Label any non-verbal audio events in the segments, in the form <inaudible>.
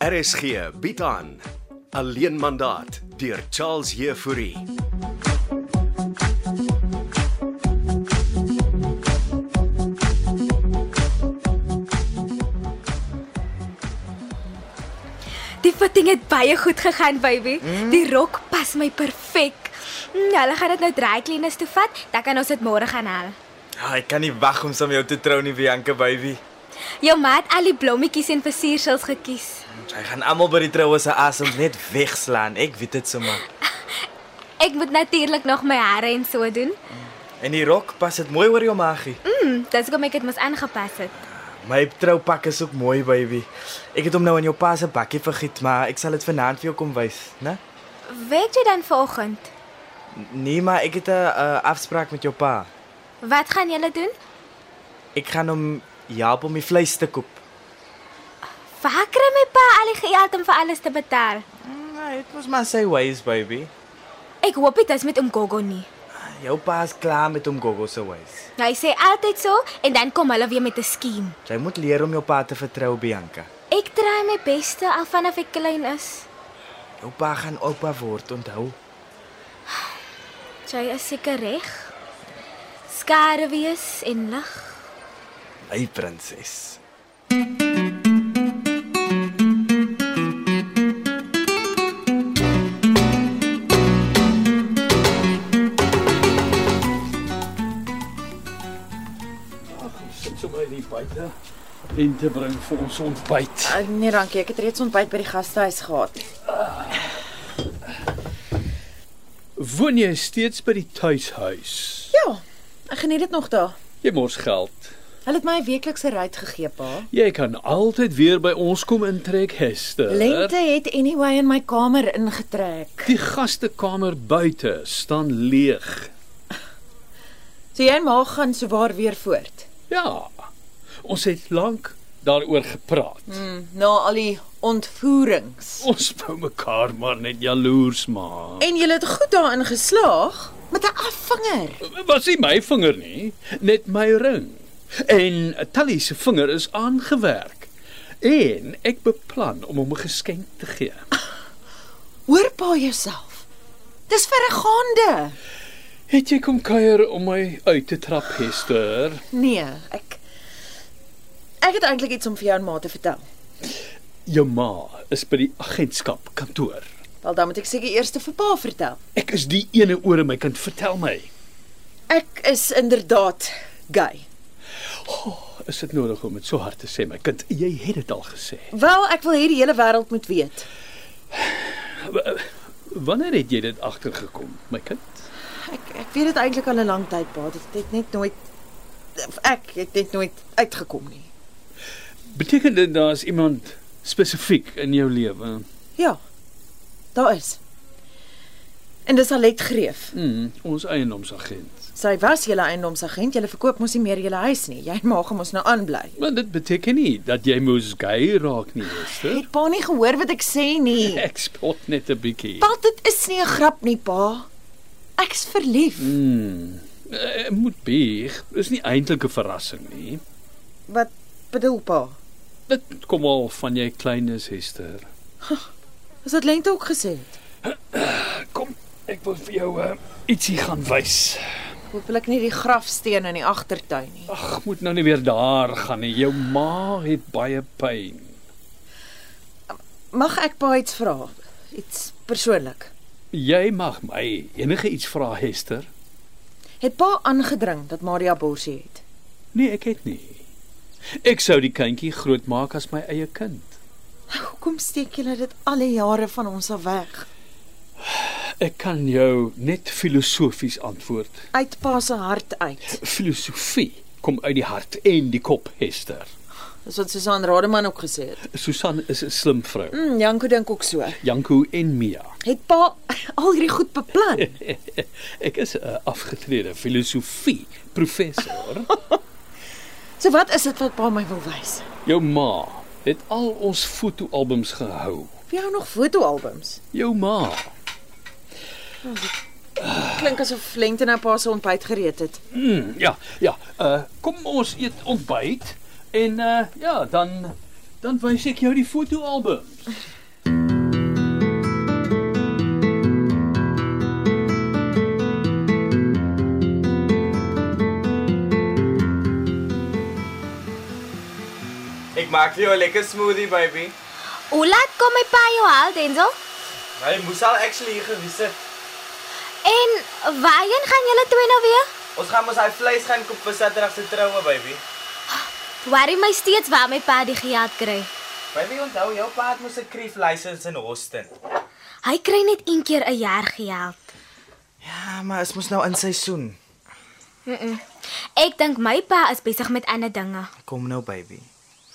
RSG bied aan Alleen mandaat deur Charles Heffouri. Die fitting het baie goed gegaan, baby. Mm. Die rok pas my perfek. Mm, hulle gaan dit nou dry cleaners toe vat, dan kan ons dit môre gaan haal. Ah, ek kan nie wag om saam met jou te trou nie, Bianca baby. Jou ma het al die blommetjies en versiersels gekies. Sy gaan almal by die troue se asem net wegslaan. Ek weet dit sommer. Ek moet natuurlik nog my hare en so doen. En die rok pas dit mooi oor jou magie. Mm, dis hoekom ek dit mos aangepas het. My troupak is ook mooi, baby. Ek het hom nou in jou pa se bakkie vergiet, maar ek sal dit vanaand vir jou kom wys, né? Weet jy dan vanoggend? Nee, maar ek het 'n uh, afspraak met jou pa. Wat gaan julle doen? Ek gaan hom help om die vleis te koop. Waar kry my pa al die geld om vir alles te betaal? Mm, Hy het mos maar sy ways, baby. Ek hoop dit is met Mgogo nie. Jou pa is klaar met hom gogo se ways. Nou, hy sê altyd so en dan kom hulle weer met 'n skema. Jy moet leer om jou pa te vertrou, Bianca. Ek try my beste al vanaf ek klein is. Jou pa gaan oupa word, onthou. Jy is seker reg. Skare wees en lig. Hy prinses. Sit so by die buite en te bring vir ons ontbyt. Uh, nee, dankie. Ek het reeds ontbyt by die gastehuis gehad. Woon jy steeds by die tuishuis? Ja, ek geniet dit nog daar. Jy mors geld. Hulle het my 'n weeklikse rit gegee, pa. Jy kan altyd weer by ons kom intrek, Hester. Lente het anyway in my kamer ingetrek. Die gastekamer buite staan leeg. So jy en ma gaan sowaar weer voort. Ja. Ons het lank daaroor gepraat. Mm, na al die ontvoerings. Ons wou mekaar maar net jaloers maak. En jy het goed daarin geslaag met 'n afvinger. Was nie my vinger nie, net my ring. En Tally se vinger is aangewerk. En ek beplan om hom 'n geskenk te gee. Hoor pa jouself. Dis verregaande. Het jy kom kuier om my uit te trap, Hester? Nee, ek ek het eintlik iets om vir jou en ma te vertel. Jou Ja, ma is by die agentskap kantoor. Wel dan moet ek seker eers te vir pa vertel. Ek is die ene oor in my kind, vertel my. Ek is inderdaad gay. Is dit nodig om dit so hard te sê, my kind? Jy het dit al gesê. Wel, ek wil hierdie hele wêreld moet weet. W- Wanneer het jy dit agtergekom, my kind? Ek ek weet dit eintlik al 'n lang tyd, pa. Dit het net nooit ek het net nooit uitgekom nie. Beteken dit daar's iemand spesifiek in jou lewe? Ja. Daar is. En dis Alet Greef. Hmm, ons eiendomsagent. Sy was julle eiendomsagent. Julle verkoop mos nie meer julle huis nie. Jy <laughs> mag hom ons nou aanbly. Maar dit beteken nie dat jy moes gay raak nie, Esther. Het pa nie gehoor wat ek sê <laughs> nie. Ek spot net 'n bietjie. Pa, dit is nie 'n grap nie, pa. Ek's verlief. Hmm. eh, Moet bieg. Is nie eintlik 'n verrassing nie. Wat bedoel pa? Dit kom al van jy klein is, Esther. Is dit lente ook gesê het? Kom, ek wil vir jou uh, ietsie gaan wys. Hoopelik nie die grafsteen in die agtertuin nie. Ag, moet nou nie weer daar gaan nie. Jou ma het baie pyn. Mag ek pa iets vra? Iets persoonlik. Jy mag my enige iets vra, Hester. Het pa aangedring dat Maria borsie het. Nee, ek het nie. Ek sou die kindjie grootmaak as my eie kind. Hoekom Nou, steek julle dit al die jare van ons af weg? Ek kan jou net filosofies antwoord. Uit pa se hart uit. Filosofie kom uit die hart en die kop, Hester. Dis wat Susan Rademan ook gesê het. Susan is 'n slim vrou. Mm, Janko dink ook so. Janko en Mia. Het pa <laughs> al hierdie goed beplan? <laughs> Ek is 'n afgetrede filosofie professor. So wat is dit wat pa my wil wys? <laughs> Jou ma het al ons fotoalbums gehou. Vir jou nog fotoalbums. Jou ma. Klink asof Lente nou pa se ontbyt gereed het. Hm, eh, Mm, eh, ja, ja. Uh kom ons eet ontbyt en uh ja, dan Dan wys ek jou die fotoalbum. Ek maak vir jou 'n lekker smoothie, baby. Hoe laat kom my pa jou haal, Denzel? Hy moes al actually hier gewees het. En waarheen gaan julle twee nou weer? Ons gaan mos hy vleis gaan koop vir Saterdag se troue, baby. Worry my steeds waar my pa die geld kry. Baby, onthou jou pa het mos 'n krief license in Houston. Hy kry net een keer 'n jaar geld. Ja, maar is mos nou in seisoen. Ek dink my pa is besig met ander dinge. Kom nou, baby.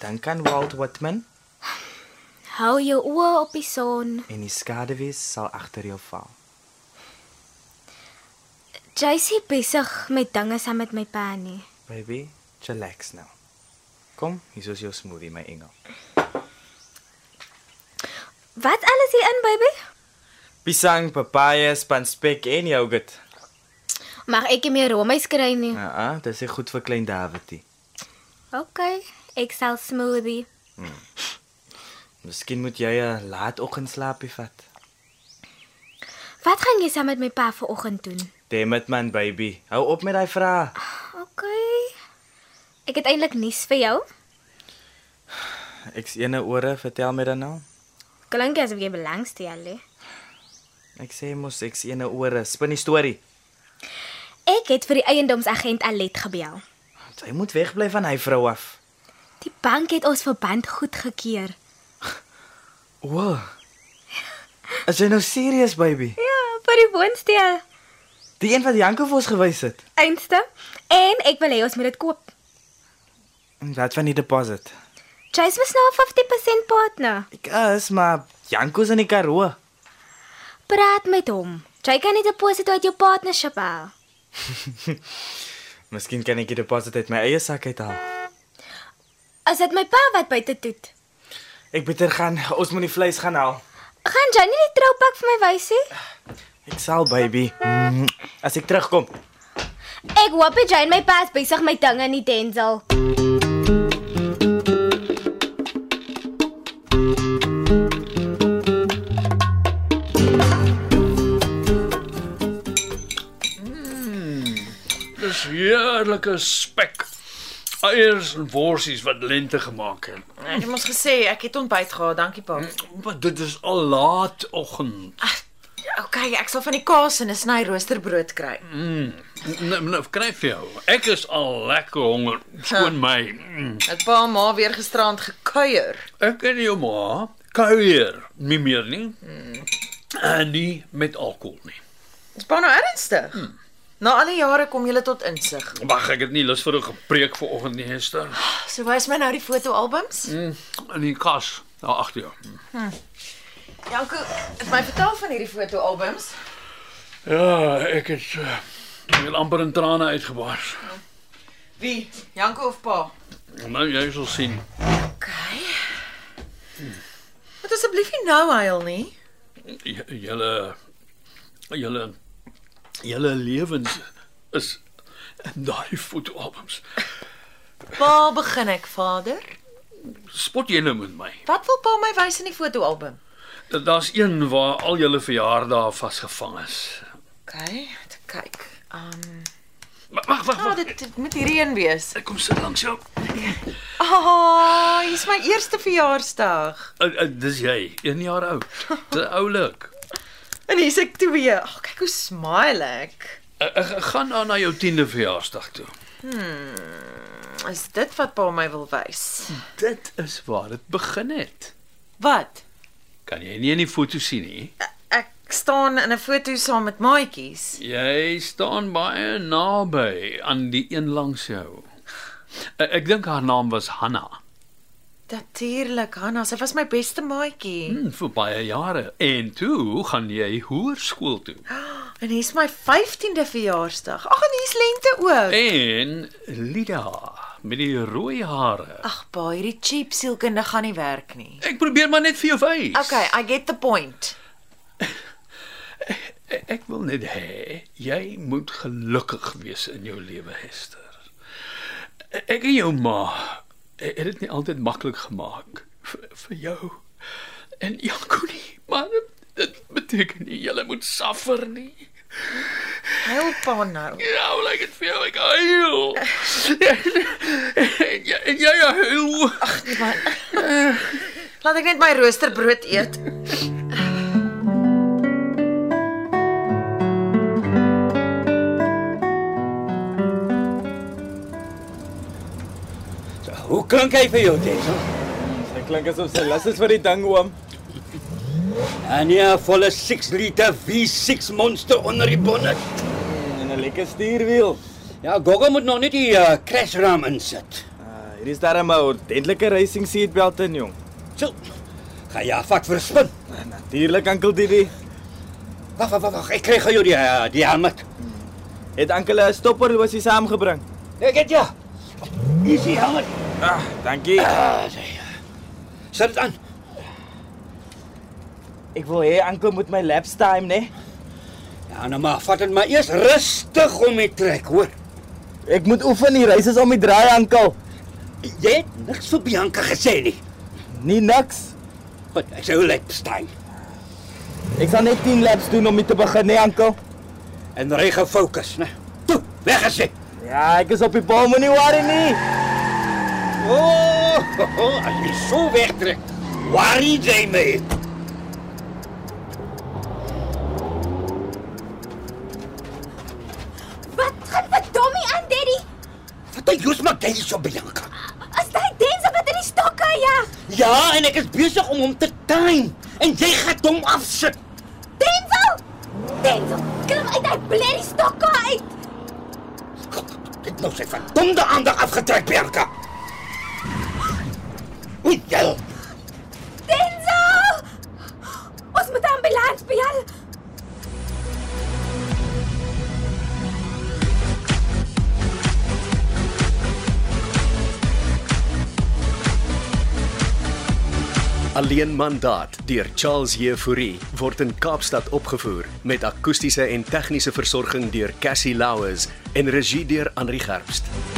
Dan kan Walt Whitman Hou jou oë op die son. en die skaduwees sal agter jou val. Jaycee besig met dinge saam met my pa nie. Baby, relax nou. Kom, hier is jou smoothie, my engel. Wat alles hier in, baby? Pisang, papaya, spanspek en yoghurt. Mag ek nie meer roomys kry nie. Ja, ah, dit is goed vir klein Davidie. OK, ek sal smoothie. Miskien moet jy 'n laatoggendslaapie vat. Wat gaan jy saam met my pa vanoggend doen? Damn it man, baby. Hou op met daai vrae. OK. Ek het eintlik nuus vir jou. Ek's ene ore, vertel my dan nou. Klink asof jy belangstel hè. Ek sê mos ek's ene ore. Spin die storie. Ek het vir die eiendomsagent Alet gebel. Jy moet wegbly van hy vrou af. Die bank het ons verband goedgekeur. Wow. Is jy nou serious, baby? Ja, vir die woonstel. Die een wat Janko vir ons gewys het. Einste. En ek wil hê ons moet dit koop. En wat van die deposit? Chase was nou 'n 50% partner. Ek is maar Janko's in die Karoo. <laughs> Praat met hom. Jy kan nie deposito uit jou partnership haal. Miskien kan ek die deposit uit my eie sak uithaal. As dit my pa wat buite toet. Ek beter gaan. Ons moet die vleis gaan haal. Gaan jy nie die troupak vir my wys nie? Ek sal, baby. Mm, As ek terugkom. Ek hoop dit jy en my pa is besig met dinge in die Denzel. Dis heerlike spek. Eiers en worsies wat lente gemaak het. Ek Ja, het mos gesê ek het ontbyt gehad, dankie pa. Mm. Maar dit is al laatoggend. Okay, ek sal van die kaas en 'n sny roosterbrood kry. Nou nou kry vir jou. Ek is al lekker honger. Skoon my. Mm. Het pa en ma weer gisterand gekuier. Ek en jou ma kuier nie meer nie. En nie met alkohol nie. Is pa nou ernstig? Na al die jare kom jy tot insig. Wag, ek het nie lus vir 'n gepreek vanoggend nie, Hester. So wys my nou die fotoalbums. In die kas daar agter jou. Janko, het my vertel van hierdie fotoalbums. Ja, ek het eh, ek het amper in trane uitgebars. Wie? Janko of pa? Nou jy sal sien. Okay. Moet asseblief nie nou huil nie. J- Julle julle julle lewens is in daai fotoalbums. Waar begin ek, vader? Spot jy nou met my? Wat wil pa my wys in die fotoalbum? Da- Daar's een waar al julle verjaardae vasgevang is. Okay, te kyk. Um, Wa- Wag, wag, ja, wag. dit, dit moet hierdie een wees. Ek kom sit langs jou. Ah, oh, hier's my eerste verjaarsdag. Uh, uh, dis jy, 1 jaar <laughs> oud. Te oulik. En hier's ek twee. Ag, oh, kyk hoe smile ek. Ek uh, uh, gaan aan na jou 10de verjaarsdag toe. Is dit wat pa my wil wys? Dit is waar dit begin het. Wat? Kan jy nie in die foto sien nie? Ek staan in 'n foto saam met maatjies. Jy staan baie naby aan die een langs jou. Uh, ek dink haar naam was Hanna. Natuurlik, Hanna, sy was my beste maatjie. Hmm, vir baie jare. En toe gaan jy hoërskool toe. <gasps> En hier's my 15de verjaarsdag. Ag, en hier's lente ook. En Lida met die rooi hare. Ag, pa, hierdie cheap sielkunde gaan nie werk nie. Ek probeer maar net vir jou wys. Okay, I get the point. E- Ek wil net hê jy moet gelukkig wees in jou lewe, eh, Hester. E- Ek en jou ma e- het dit nie altyd maklik gemaak vir, vir jou en Jaconie, maar dit beteken nie jy moet suffer nie. Help pa nou. Nou lyk dit vir jou ek huil. En jy- en jy huil. Laat ek net my roosterbrood eet. Hoe klink hy vir jou, Tessa? Sy klink asof sy lus is vir die ding oom. En ja, volle 6 liter V6 monster onder die bonnet. En 'n lekker stuurwiel. Ja, Gogo moet nog net die uh, crashram insit. Uh, hier is daar 'n ordentlike racing seatbelt in jong. So, ga jy vat vir 'n spin. Natuurlik Ankel Didi. Wag, wag, wag, wag, ek kry gou jou die uh, die helmet. Het Ankel 'n stopper was hy saamgebring. Ek het ja. Hier is die helmet. Ah, dankie. Ah, sê. Sit dit aan. Ek wil hê Ankel moet my laps time, né? Ja, nou maar, vat dit maar eers rustig om die trek, hoor. Ek moet oefen die race is om die draai Ankel. Jy het niks vir Bianca gesê nie. Nie niks. Wat, ek sê hoe lyk Stein? Ek sal net 10 laps doen om dit te begin, né Ankel? En ry gefokus, né? Toe, weg as jy. Ja, ek is op die bal, moenie worry nie. O, oh, as jy so wegtrek, worry jy my. Wat gaan vir Tommy aan, Daddy? Wat jy jous maar dit so Bianca. As daai danser wat in die stokke jag. Ja, en ek is besig om hom te time en jy gaan hom afsit. Denzel! Denzel, klim uit daai blerrie stokke uit. God, Dit nou sy verdomde aandag afgetrek Bianca. Oei, jel. Denzel! Ons moet 'n ambulans bel. Alleen mandaat deur Charles Jefouri word in Kaapstad opgevoer met akoestiese en tegniese versorging deur Cassie Louws en regie deur Henri Gerst.